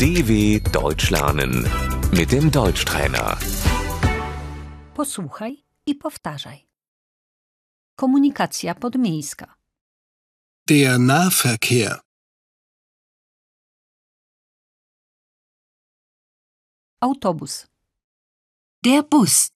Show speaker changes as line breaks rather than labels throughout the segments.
DW Deutsch lernen mit dem Deutschtrainer.
Posłuchaj i powtarzaj. Komunikacja podmiejska.
Der Nahverkehr.
Autobus.
Der Bus.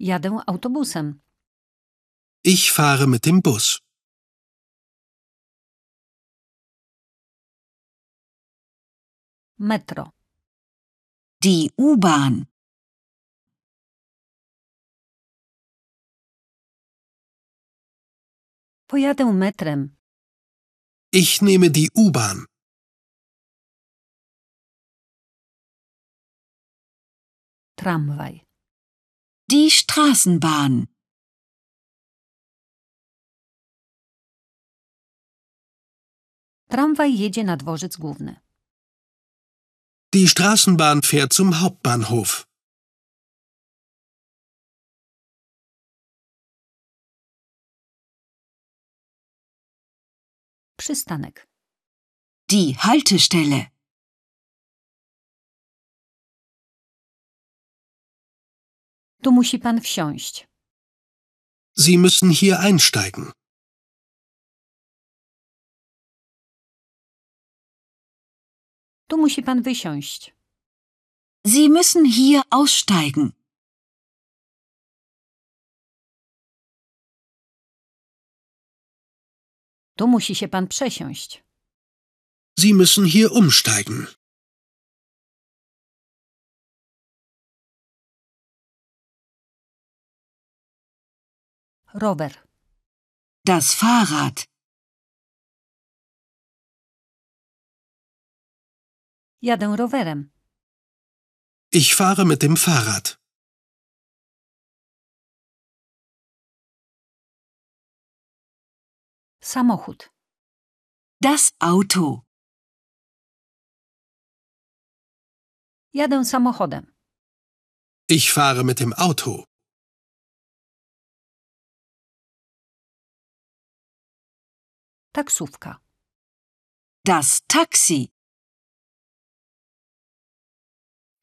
Jadę autobusem.
Ich fahre mit dem Bus.
Metro.
Die U-Bahn.
Pojadę metrem.
Ich nehme die U-Bahn.
Tramwaj.
Die Straßenbahn.
Tramwaj jedzie na dworzec główny.
Die Straßenbahn fährt zum Hauptbahnhof.
Przystanek.
Die Haltestelle.
Tu musi pan wsiąść.
Sie müssen hier einsteigen.
Tu musi pan wysiąść.
Sie müssen hier aussteigen.
Tu musi się pan przesiąść.
Sie müssen hier umsteigen.
Rower.
Das Fahrrad.
Jadę rowerem.
Ich fahre mit dem Fahrrad.
Samochód.
Das Auto.
Jadę samochodem.
Ich fahre mit dem Auto.
Taksówka.
Das Taxi.